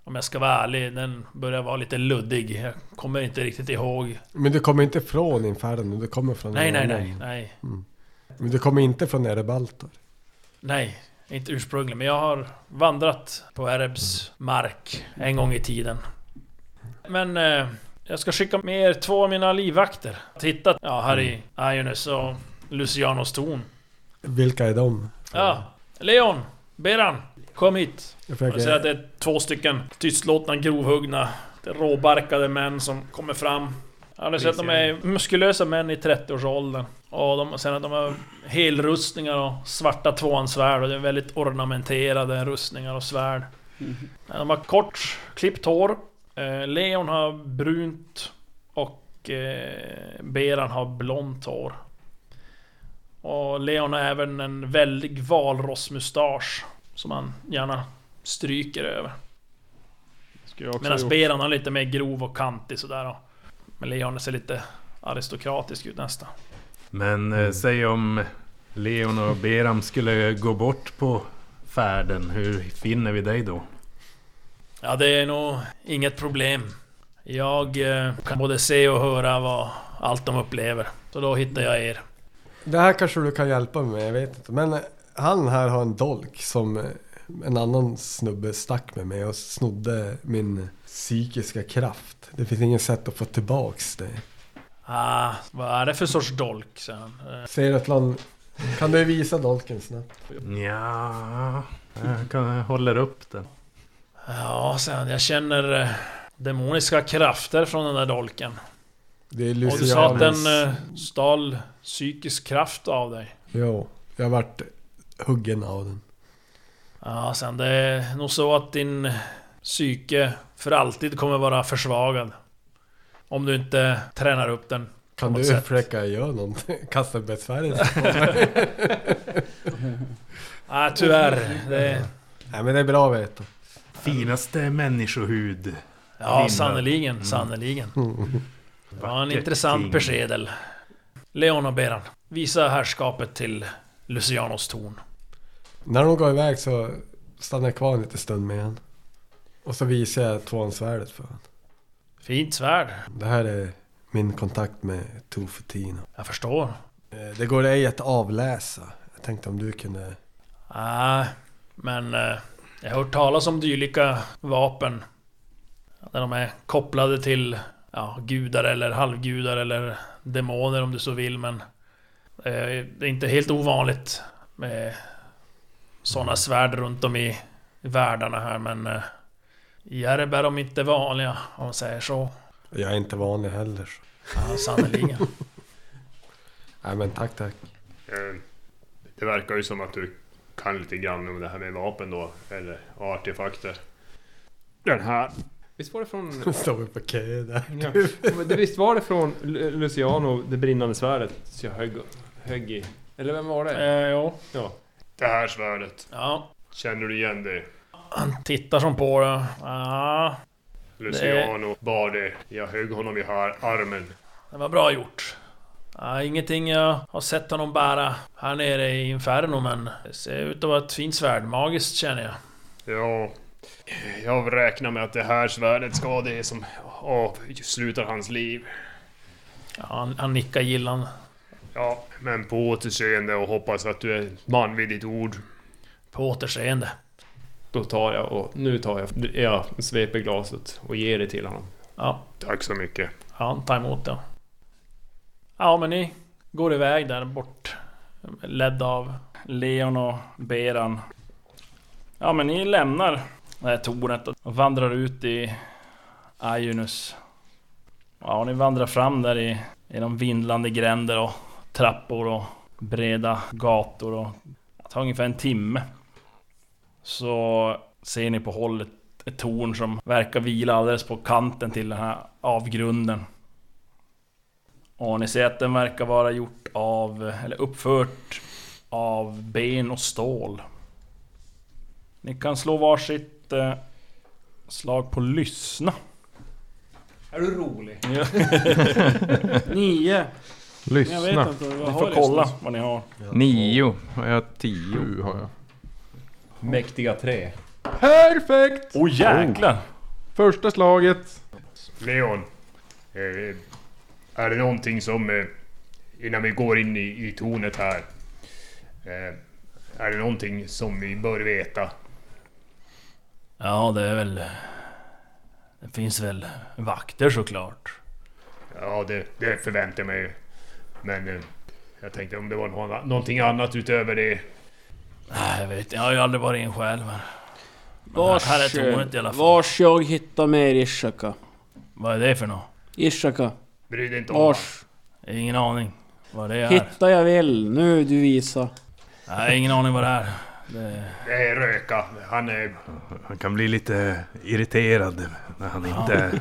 om jag ska vara ärlig, den börjar vara lite luddig. Jag kommer inte riktigt ihåg.
Men du kommer inte från Inferno, du kommer från...
Nej,
en
nej,
annan.
nej, nej.
Men du kommer inte från Erebaltor?
Nej, inte ursprungligen. Men jag har vandrat på Erebs mark en gång i tiden. Men eh, jag ska skicka med er två av mina livvakter. Titta ja, här i Ionus och Lucianos torn.
Vilka är de?
Ja, Leon, Beran, kom hit.
Jag
Jag säger att
försöker...
det är två stycken tystlåtna, grovhuggna, råbarkade män som kommer fram. Jag har sett att de är muskulösa män i 30-årsåldern. Och de, sen att de har helrustningar och svarta tvåhandsvärd och det är väldigt ornamenterade rustningar och svärd. De har kort, klippt hår. Eh, Leon har brunt och eh, Beran har blont hår. Och Leon har även en väldig valrossmustasch Som han gärna stryker över.
Ska jag också ha
Medan
gjort.
Beran är lite mer grov och kantig sådär. och- Men Leon ser lite aristokratisk ut nästan.
Men eh, säg om Leon och Beram skulle gå bort på färden. Hur finner vi dig då?
Ja, det är nog inget problem. Jag eh, kan både se och höra vad allt de upplever. Så då hittar jag er.
Det här kanske du kan hjälpa mig med, jag vet inte. Men eh, han här har en dolk som eh, en annan snubbe stack med mig och snodde min psykiska kraft. Det finns inget sätt att få tillbaks det.
Ah, vad är det för sorts dolk? säger han. Eh,
Ser att han... Kan du visa dolken snabbt?
Ja, jag kan, jag håller upp den.
Ja, säger han. Jag känner eh, demoniska krafter från den där dolken.
Det är
Och du sa att
Lucianus.
den eh, stal psykisk kraft av dig.
Jo, jag vart huggen av den.
Ja, sen det är nog så att din psyke för alltid kommer vara försvagad. Om du inte tränar upp den.
Kan
På
du
något sätt.
försöka göra någonting? (laughs) Kasta besvärjelse?
Nej, tyvärr. Det,
Nej men det är bra att veta.
Finaste människohud.
ja,
Vinna.
sannerligen, sannerligen. Det var en
Mm. Vackert
intressant
ting.
beskedel. Leon och Beran, visa herrskapet till Lucianos torn.
När de går iväg så stannar jag kvar en liten stund med han. Och så visar jag tvåansvärdet för honom.
Fint svärd.
Det här är min kontakt med Tofutino.
Jag förstår.
Eh, Det går ej att avläsa. Jag tänkte om du kunde...
Nej, Ah, men eh, jag har hört talas om dylika vapen. Där de är kopplade till ja, gudar eller halvgudar eller demoner om du så vill. Men eh, det är inte helt ovanligt med sådana svärd runt om i världarna här. Men eh, i Järb är de inte vanliga om man säger så.
Jag är inte vanlig heller. så.
Ja, sannerligen.
Nej men tack tack.
Eh, Det verkar ju som att du kan lite grann om det här med vapen då, eller artefakter. Den här.
Visst var det från...
Nu står vi på kö där.
Ja. Men det- Visst var det från Lu- Luciano, det brinnande svärdet, så jag högg, högg i? Eller vem var det?
eh, jo.
Ja.
Det här svärdet.
Ja,
Känner du igen det?
han tittar som på det. Ja,
Luciano bar det. Jag högg honom i här armen.
Det var bra gjort. Ja, ingenting jag har sett honom bära här nere i Inferno, men det ser ut att vara ett fint svärd. Magiskt känner jag.
Ja, jag räknar med att det här svärdet ska det som avslutar hans liv.
Ja, han, han nickar gillan.
Ja, men på återseende och hoppas att du är man vid ditt ord.
På återseende.
Då tar jag och... Nu tar jag... Jag sveper glaset och ger det till honom.
Ja,
Tack så mycket.
han tar emot det. Ja, men ni går iväg där bort. Ledd av...
Leon och Beran. Ja men ni lämnar det här tornet och vandrar ut i Ajunus. Ja och ni vandrar fram där i genom vindlande gränder och trappor och breda gator och det tar ungefär en timme. Så ser ni på håll ett, ett torn som verkar vila alldeles på kanten till den här avgrunden. Och ni ser att den verkar vara gjort av, eller uppfört av ben och stål. Ni kan slå varsitt eh, slag på lyssna.
Är du rolig?
(laughs)
Nio. Jag vet
Lyssna.
inte. Vad
Ni
har
får
jag
kolla
lyssnat?
vad ni har.
Nio. Har jag tio?
Sju har jag.
Mäktiga tre.
Perfekt!
Åh oh, jäklar!
Första slaget.
Leon, eh, är det någonting som, eh, innan vi går in i, i tornet här, eh, är det någonting som vi bör veta?
Ja, det är väl... Det finns väl vakter såklart.
Ja, det, det förväntar jag mig. Men eh, jag tänkte om det var någon- någonting annat utöver det.
Nej, jag vet Jag har ju aldrig varit in själv. Men
Vars,
här är tornet i alla fall.
vars jag hittar mer Ishaka.
Vad är det för något?
Ishaka.
Bry dig inte om
Vars.
Jag har ingen aning vad det är.
Hitta jag vill. Nu du visa.
Jag har ingen aning vad det är. Det,
det. är röka. Han är...
Han kan bli lite irriterad när han inte...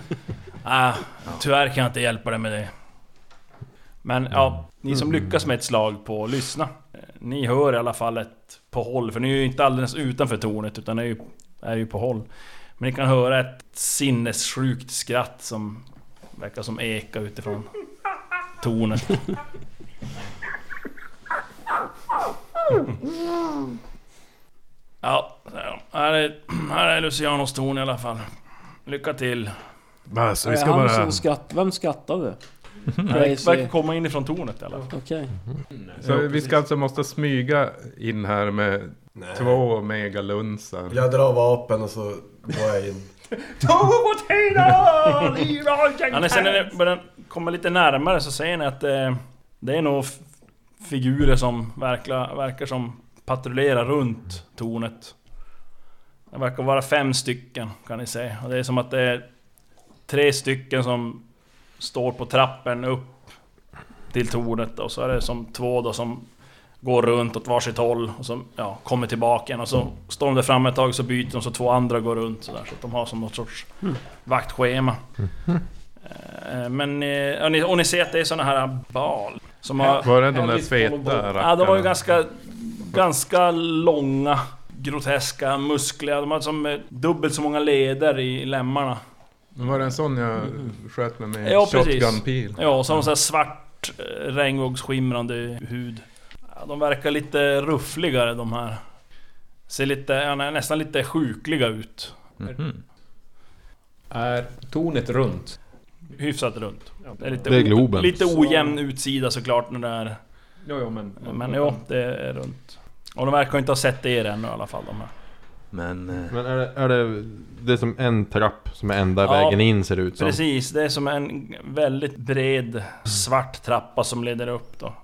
ah, tyvärr kan jag inte hjälpa dig med det.
Men ja, ni som lyckas med ett slag på att lyssna. eh, Ni hör i alla fall ett på håll, för ni är ju inte alldeles utanför tornet utan är ju, är ju på håll. Men ni kan höra ett sinnessjukt skratt som verkar som eka utifrån tornet. Ja, säger de. här är, här är Lucianos torn i alla fall. Lycka till.
Bara, så vi
Är
ska
han
bara...
så-
Som skratt, vem
(laughs)
skrattade?
Det verkar komma inifrån tornet i alla fall.
Okej.
Så vi ska alltså måste smyga in här med två megalunsar.
Jag drar vapen och så går jag in.
Ja, när sen när ni börjar komma lite närmare så ser ni att eh, det är nog f- figurer som verkar, verkar som patrullerar runt tornet. Det verkar vara fem stycken kan ni se. Och det är som att det är tre stycken som står på trappen upp till tornet och så är det som två då som går runt åt varsitt håll och så ja, kommer tillbaka igen och så står de där framme ett tag så byter de så två andra går runt sådär så att de har som något sorts vaktschema. Eh, Men, eh, ja, ni- och ni ser att det är såna här bal som har...
Var det de där feta
Ja, de var ju
rackarna?
ganska, ganska långa, groteska, muskliga. De har som eh, dubbelt så många leder i lemmarna.
Var det en sån jag sköt med med
Ja, precis.
shotgun-pil?
Ja, och så har de så här svart, eh, regnbågsskimrande hud. Ja, de verkar lite ruffligare de här. Ser lite, ja, nä- nästan lite sjukliga ut.
Mhm.
Är tornet runt?
Hyfsat runt. Det är lite,
Det är
o-
Globen.
lite ojämn utsida såklart när det är...
Ja, ja, men...
Men ja, det är runt. Och de verkar inte ha sett er ännu i alla fall de här.
Men... eh,
Men är det, är det, det är som en trapp som är enda
Ja,
vägen in ser det ut som.
Precis, det är som en väldigt bred svart trappa som leder upp då.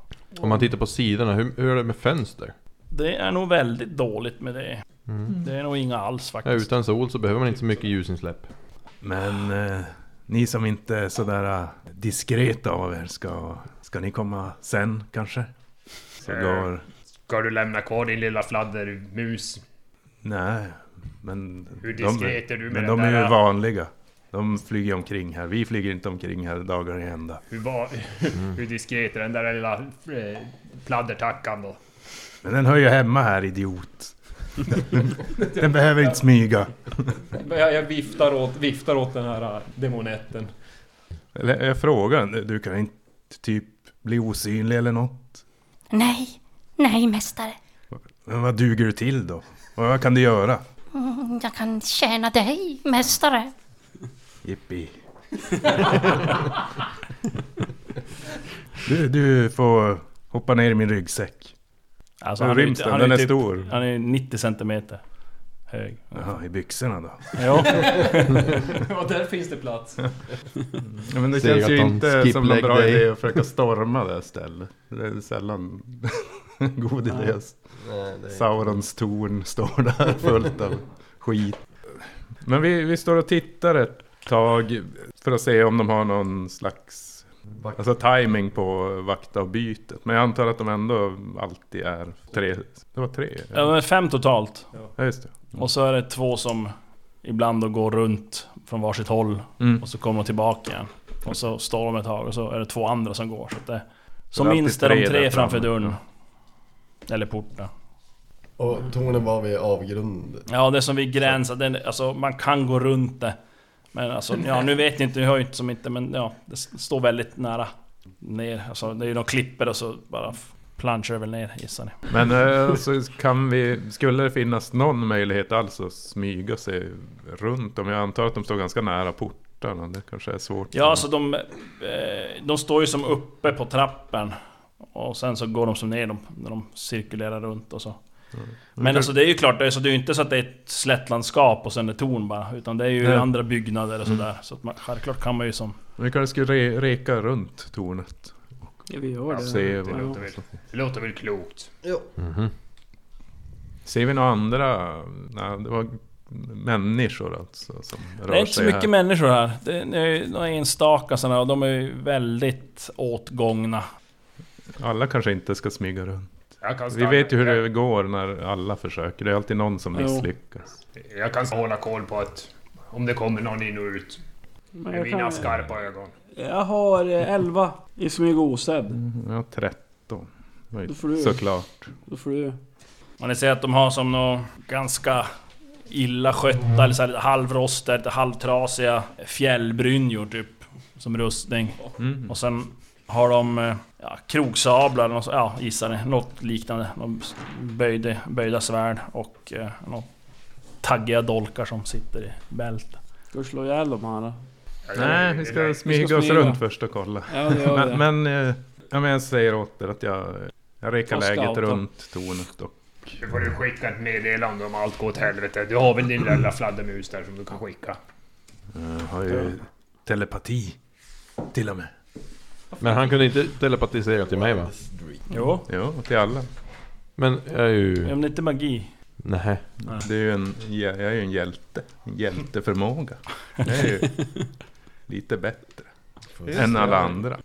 Om man tittar på sidorna, hur, hur är det med fönster?
Det är nog väldigt dåligt med det.
Mm.
Det är nog inga alls
Ja,
faktiskt.
utan sol så behöver man inte så mycket ljusinsläpp.
Men eh, ni som inte är sådär eh, diskreta av er, ska, ska ni komma sen kanske? Så
Eh.
går...
Ska du lämna kvar din lilla fladdermus?
Nej, men...
Hur
de är-
diskret är du med
Men
den
de är
där-
ju vanliga. De flyger omkring här. Vi flyger inte omkring här dagar i ända.
Hur, va, (laughs) hur diskret är den där lilla eh, pladdertackan då?
Men den hör ju hemma här, idiot. den behöver inte smyga.
Jag, jag viftar, åt, viftar åt den här äh, demonetten.
Eller jag frågar, du kan inte typ bli osynlig eller något?
Nej, nej mästare.
Men vad duger du till då? Vad kan du göra?
Mm, Jag kan tjäna dig, mästare.
Jippi. Du, du får hoppa ner i min ryggsäck.
Alltså,
Hur
han är ju-
ryms den?
han är ju
Den är
typ-
stor.
Han är 90 centimeter hög.
Jaha, i byxorna då?
Ja.
Ja, där finns det plats.
Ja, men det
Säg
känns
att
ju
de
inte som någon
skiplägg
bra
dig.
idé att försöka storma det här stället. Det är sällan (laughs) en god idé. att- Saurons torn står där fullt av skit. Men vi, vi står och tittar ett tag för att se om de har någon slags alltså timing på vaktavbytet. Men jag antar att de ändå alltid är tre. Det var tre?
Ja, men fem totalt.
Ja, just det.
Och så är det två som ibland då går runt från varsitt håll.
Mm.
Och så kommer de tillbaka igen. Och så står de ett tag och så är det två andra som går. Så att det, som
det är
minst är
alltid
de
tre
tre
där
framför
framme.
dörren. Eller porten.
Och tornen var vid avgrund.
Ja, det som vi gränsar, den, alltså man kan gå runt det. Men alltså, ja nu vet ni inte, ni hör ju inte som inte, men ja, det s- står väldigt nära ner. Alltså det är ju några klipper och så bara f- planchar det väl ner gissar ni.
Men eh, så kan vi, skulle det finnas någon möjlighet alls att smyga sig runt dem? Jag antar att de står ganska nära portarna, det kanske är svårt.
Ja, alltså de, eh, de står ju som uppe på trappen. Och sen så går de som ner dem när de cirkulerar runt och så. Men alltså det är ju klart, det är, så det är ju inte så att det är ett slättlandskap och sen är torn bara. Utan det är ju
Nej.
andra byggnader och sådär. Så att man, självklart kan man ju som...
Vi kanske skulle re, reka runt tornet.
Ja, vi gör det.
Se
Det
vad,
låter väl, det låter väl klokt.
Mhm.
ser vi några andra? Nej, det var människor alltså som rör
Det är inte så
sig
mycket
här.
människor här. Det är, det är några enstaka sådana och de är ju väldigt åtgångna.
Alla kanske inte ska smyga runt.
Jag kan
Vi
stanna-
vet ju hur
jag,
det går när alla försöker. Det är alltid någon som
Jo.
misslyckas.
Jag kan hålla koll på att om det kommer någon in och ut. Med mina skarpa ögon.
Jag har eh, 11 i smyg och osedd.
Jag har 13.
Då får du-
Såklart.
Då får du...
Och ni ser att de har som nå ganska illa skötta, eller så här lite halvrostiga, lite halvtrasiga fjällbrynjor typ. Som rustning.
Mm.
Och sen har de eh, ja, krogsablar, något, så- ja gissar ni, något liknande. De böjde, böjda svärd och eh, något taggiga dolkar som sitter i bältet.
Ska vi slå ihjäl de här då?
Nej, vi ska smyga oss runt först och kolla.
Ja, det gör vi.
men, men, eh, ja, men jag säger åt er att jag, jag rekar
Jag
läget
scoutar.
runt tornet och
Nu får du skicka ett meddelande om allt går åt helvete. Du har väl din lilla fladdermus där som du kan skicka?
eh, har ju telepati. Till och med.
Men han kunde inte telepatisera till mig va?
Jo.
Jo, till alla.
Men jag är ju...
Ja, men inte magi.
Nej.
Det är ju en, jag är ju en hjälte. En hjälteförmåga. Jag är ju lite bättre.
Just
än
det.
alla andra.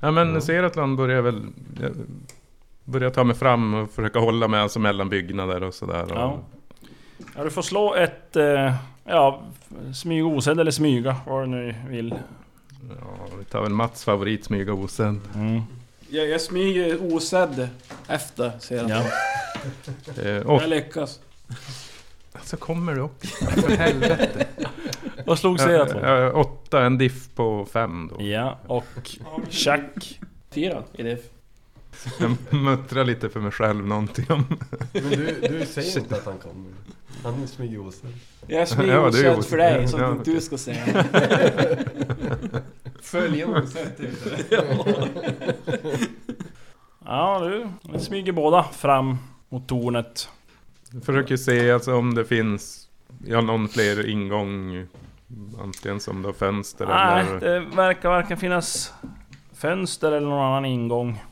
Ja men
Ja.
Seratlan börjar väl... jag Börjar ta mig fram och försöka hålla mig alltså mellan byggnader och sådär. Och,
Ja. Ja, du får slå ett... Eh, ja, smyg osedd eller smyga, vad du nu vill.
Ja, vi tar väl Mats favorit smyga osänd.
Mm.
Jag, jag smyger osedd efter ser jag.
Ja. Eh, och-
jag lyckas.
Alltså kommer du upp? (laughs) För helvete.
Vad slog Seratlan?
Eh, eh, Åtta, en diff på fem då.
Ja, och Jack.
Fyra i diff.
Jag muttrar lite för mig själv någonting om...
Men du, du säger inte att han kommer. Han smyger osedd.
(laughs)
Jag smyger
Ja, du är
osedd för dig så att
osedd.
inte
Ja,
du ska säga
Följa osett ut.
Ja du, vi smyger båda fram mot tornet.
Jag försöker se alltså om det finns ja, någon fler ingång. Antingen som då fönster
Nej,
eller...
det verkar varken finnas fönster eller någon annan ingång.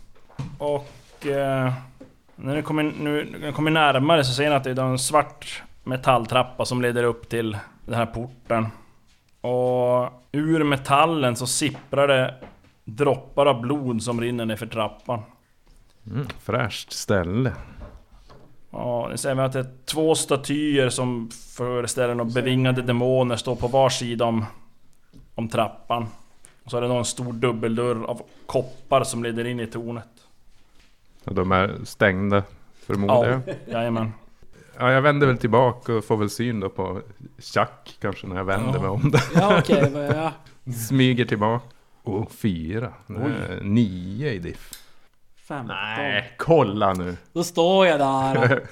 Och eh, när ni kommer, nu, när ni kommer närmare så ser ni att det är en svart metalltrappa som leder upp till den här porten. Och ur metallen så sipprar det droppar av blod som rinner ner för trappan.
Mm, fräscht ställe.
Ja, ni ser även att det är två statyer som föreställer några bevingade demoner står på var sida om, om trappan. Och så är det då en stor dubbeldörr av koppar som leder in i tornet.
Och de är stängda förmodar jag.
jajamän.
Ja, jag vänder väl tillbaka och får väl syn då på Chuck kanske när jag vänder
Ja.
mig om där.
Ja, okej, vad- ja.
Smyger tillbaka. Och fyra.
Oj.
Nio i diff.
Femton.
Nej, kolla nu.
Då står jag
(laughs)
där.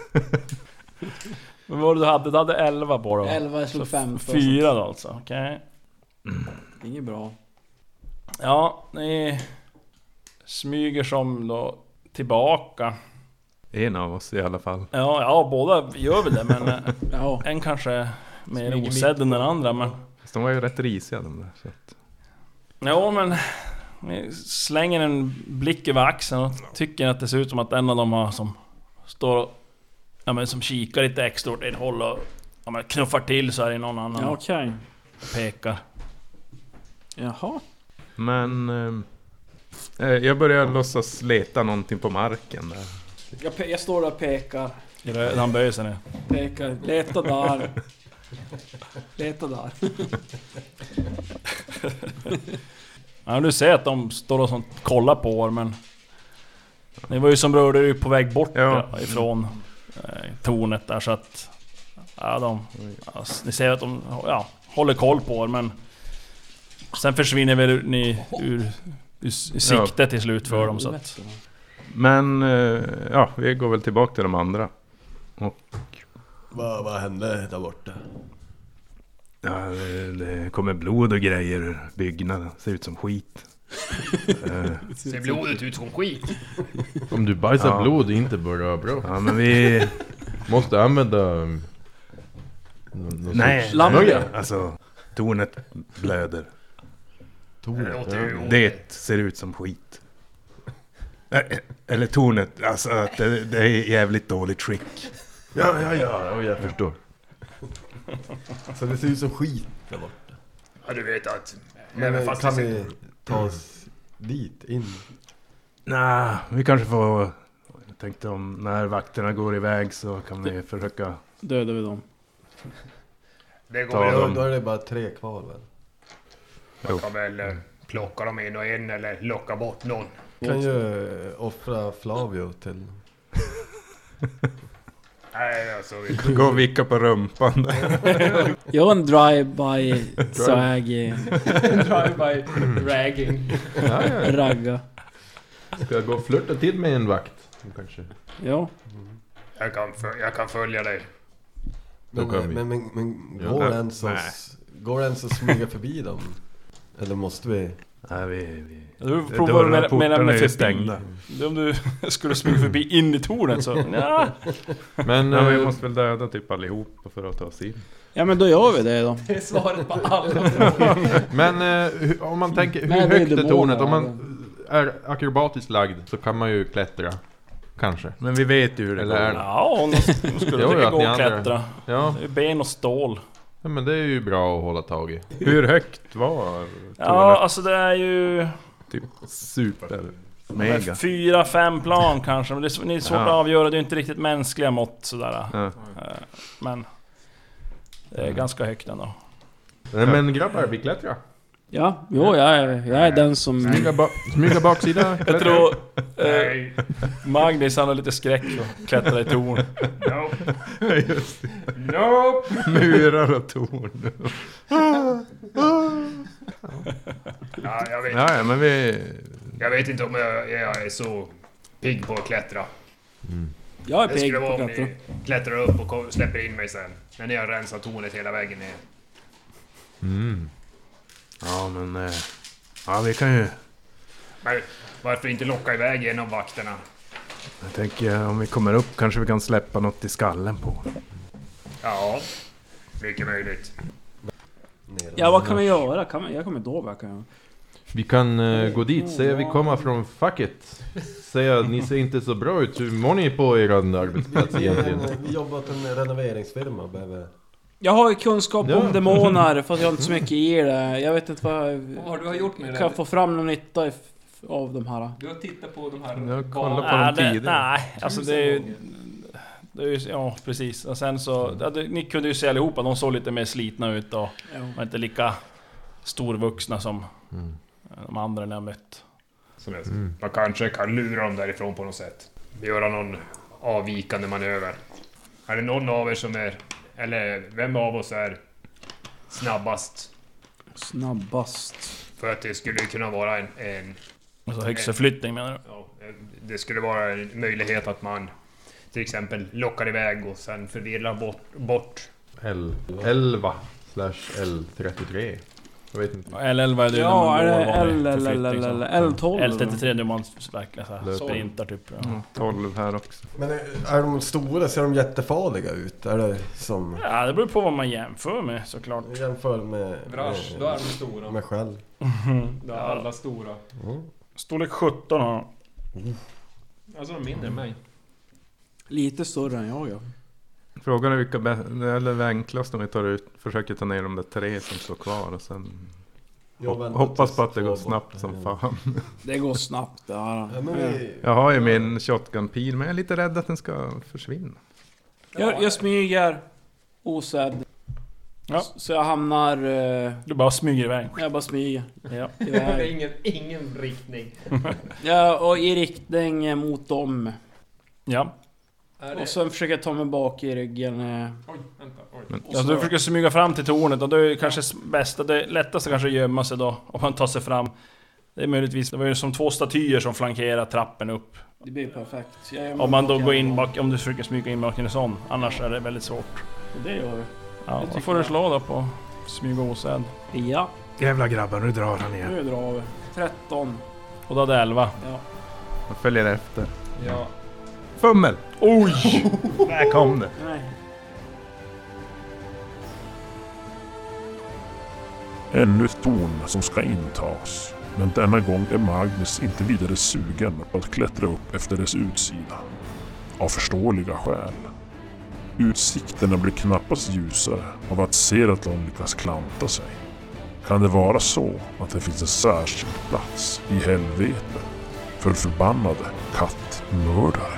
Men vad var det du hade? Du hade 11 på då?
Elva, jag slog
Så f-
femton.
Fyra då alltså, okej.
Inget bra.
Ja, ni smyger som då tillbaka.
En av oss i alla fall.
Ja, ja båda gör väl det men eh,
ja.
en kanske är mer
Smyger mitt
osedd än den andra men...
Fast de var ju rätt risiga de där. Så att...
Ja men... Vi slänger en blick över axeln och tycker att det ser ut som att en av dem har som... Står och... Ja men som kikar lite extra åt ett håll och... Ja men knuffar till så är det någon annan
Ja, okej.
och pekar.
Jaha.
Men... Eh, eh, jag börjar låtsas leta någonting på marken där.
Jag, pe- jag står där och pekar.
Han böjer sig ner.
Pekar. Leta där. Leta där.
Ja du ser att de står och sånt, kollar på er men... Ni var ju som rörde er ju på väg bort
Ja.
ifrån eh, tornet där så att... Ja de... Ja, s- ni ser att de ja, håller koll på er men... Sen försvinner väl ur- ni ur, ur s- sikte
Ja.
till slut för dem så att...
Men eh, ja, vi går väl tillbaka till de andra. Och
Vad, vad hände där borta?
Ja, det, det kommer blod och grejer ur byggnaden. Ser ut som skit. Eh,
Ser blodet ut som skit?
Om du bajsar
Ja.
blod är inte bra bra.
Ja, men (laughs) vi-
Måste använda... um, Någon, någon
nej,
sorts
nej,
smörja.
alltså tornet blöder.
Tornet, Det låter ju ja.
Det ser ut som skit. Eh, eh, Eller tornet, alltså att det, det är i jävligt dåligt skick.
Ja, ja, ja, ja, jag förstår.
Så det ser ut som skit där borta.
Ja, du vet att...
Men
även
eh,
fast
kan
det-
vi ta oss dit in?
Nej, vi kanske får... Jag tänkte om när vakterna går iväg så kan vi försöka...
Dödar vi dem.
Det
Ta
Då,
dem.
då är det bara tre kvar väl?
Man kan väl eh, plocka dem en och en eller locka bort någon.
Kan ju eh, offra Flavio till...
Nej, alltså, vi...
Gå och vicka på rumpan.
Jag är en drive-by swaggy.
Drive-by ragging.
Ja, ja.
Ragga.
Ska jag gå och flirta till med en vakt? Kanske.
Ja.
jag, kan föl- jag kan följa
Eh.
dig.
Då
Men,
kan vi.
men, men, men
Ja,
går,
nej.
det ens att,
Nej.
går det ens att smyga förbi dem? Eller måste vi?
Nej, vi... vi...
Du
Dörrar,
provar med,
portarna
med, Mm. med
är
förbi.
stängda.
Det är Om du (laughs) skulle smyga förbi in i tornet så... Nja.
Men,
Nej, men vi
eh,
måste väl döda typ allihopa för att ta oss in.
Ja men då gör vi det då.
Det är svaret på alla frågor.
Men eh, hur- om man tänker, hur
Nej, det är
högt är
demoner,
tornet? Om man är akrobatiskt lagd så kan man ju klättra. Kanske.
Men vi vet ju hur det
Eller är
går.
Ja, hon hon
(laughs)
skulle
Jo,
försöka
att
gå
ni
och
andra-
klättra.
Ja.
Det är ben och stål.
ja, men det är ju bra att hålla tag i.
Hur högt var tornet?
Ja, alltså det är ju...
Typ super...
de här
Mega.
Fyra, fem plan kanske. Men det är sv- det är svårt
Ja.
att avgöra, det är ju inte riktigt mänskliga mått sådär.
Ja. Mm.
Eh, Men... Det är ganska högt ändå.
Nej, men grabbar, vi klättrar.
Ja, jo jag är, jag är den som...
Smyga, ba smyga baksida.
Jag
klättra.
tror... Eh,
Nej,
Magnus han har lite skräck för att klättra i torn.
nope,
(laughs)
Just det.
nope.
Murar och torn.
Ja, jag, vet,
Ja, ja, men vi...
jag vet inte om jag, jag är så pigg på att klättra.
Jag är
Det
pigg
skulle
på
vara
att
om
klättra.
ni klättrar upp och ko- släpper in mig sen. När ni har rensat tornet hela vägen ner.
Ja, men... eh, Ja, vi kan ju...
Men varför inte locka iväg en av vakterna?
Jag tänker eh, om vi kommer upp kanske vi kan släppa något i skallen på
Ja, mycket möjligt.
Ja vad kan vi göra? Kan vi, jag kommer inte ihåg vad jag kan göra.
Vi kan eh, gå dit, säga vi kommer från facket. Säga ni ser inte så bra ut, hur mår ni på er arbetsplats
Vi är
egentligen?
en- vi jobbar åt en renoveringsfirma och behöver...
Jag har ju kunskap
Ja.
om demoner fast jag har inte så mycket i det. Jag vet inte vad jag...
Vad har du har gjort med
Kan jag
det?
få fram någon nytta if- av de här?
Du har tittat på de här...
Jag
barnen.
kollar på
Ah,
dem
Nej, det,
tidigare.
nej, alltså det är ju... Det är ju, ja precis. Och sen så...
Mm.
Ja, det, ni kunde ju se allihopa, de såg lite mer slitna ut och
Jo.
var inte lika storvuxna som
Mm.
de andra ni har mött.
Som helst. Man kanske kan lura dem därifrån på något sätt. Göra någon avvikande manöver. Är det någon av er som är... Eller vem av oss är snabbast?
Snabbast.
För att det skulle ju kunna vara en... en
Alltså högstförflyttning menar du?
ja, det skulle vara en möjlighet att man till exempel lockar iväg och sen förvirrar bort... bort.
L 11 slash L33. Jag vet inte.
L11 är det
Ja, är det L, L, L, L, L,
L12?
L12?
L33 det är man verkligen såhär
Löper.
sprintar typ. Ja.
12 här också.
Men eh, är de stora? Ser de jättefarliga ut? Är det som...
Ja, det beror på vad man jämför med såklart.
Jämför med...
Brash, då är de stora.
Med själv.
Då är alla stora.
Storlek 17 har de.
Alltså de är mindre än mig.
Lite större än jag ja.
Frågan är vilka bä- eller det enklaste om vi tar ut, försöker ta ner de där tre som står kvar och sen
Jag
hop-
väntar
hoppas på
tills
att det går
typ två
snabbt
bort.
som
Ja.
fan.
Det går snabbt det här.
Ja, men vi...
Jag har ju min shotgun-pil men jag är lite rädd att den ska försvinna.
Jag, jag smyger osedd.
Ja.
S- Så jag hamnar... eh,
Du bara smyger iväg.
Jag bara smyger.
Ja.
Det är (laughs)
iväg.
ingen, ingen riktning.
(laughs) ja, och i riktning eh, mot dem.
ja.
Är det...
Och sen försöker jag ta mig bak i ryggen. eh,
Oj, vänta. Oj.
och
Alltså,
så-
du försöker smyga fram till tornet och det är ju kanske s- bästa, det lättaste kanske att gömma sig då om man tar sig fram. Det är möjligtvis, det var ju som två statyer som flankerar trappen upp.
Det blir perfekt. Jag är
Om man då
bak i
går in
alla.
bak, om du försöker smyga in bakom en sån. Annars är det väldigt svårt.
Och Det gör
Ja,
tycker
då får du
jag.
slå då på smyga osedd.
vi. Ja,
Jävla grabbar, nu drar han igen.
nu drar vi. 13.
Och då hade 11.
Ja.
Jag följer efter.
Ja.
Fummel! Oj! Där kom det.
Nej.
Ännu ett torn som ska intas. Men denna gång är Magnus inte vidare sugen på att klättra upp efter dess utsida. Av förståeliga skäl. Utsikterna blir knappast ljusare av att Seratlon lyckas klanta sig. Kan det vara så att det finns en särskild plats i helvetet för förbannade kattmördare?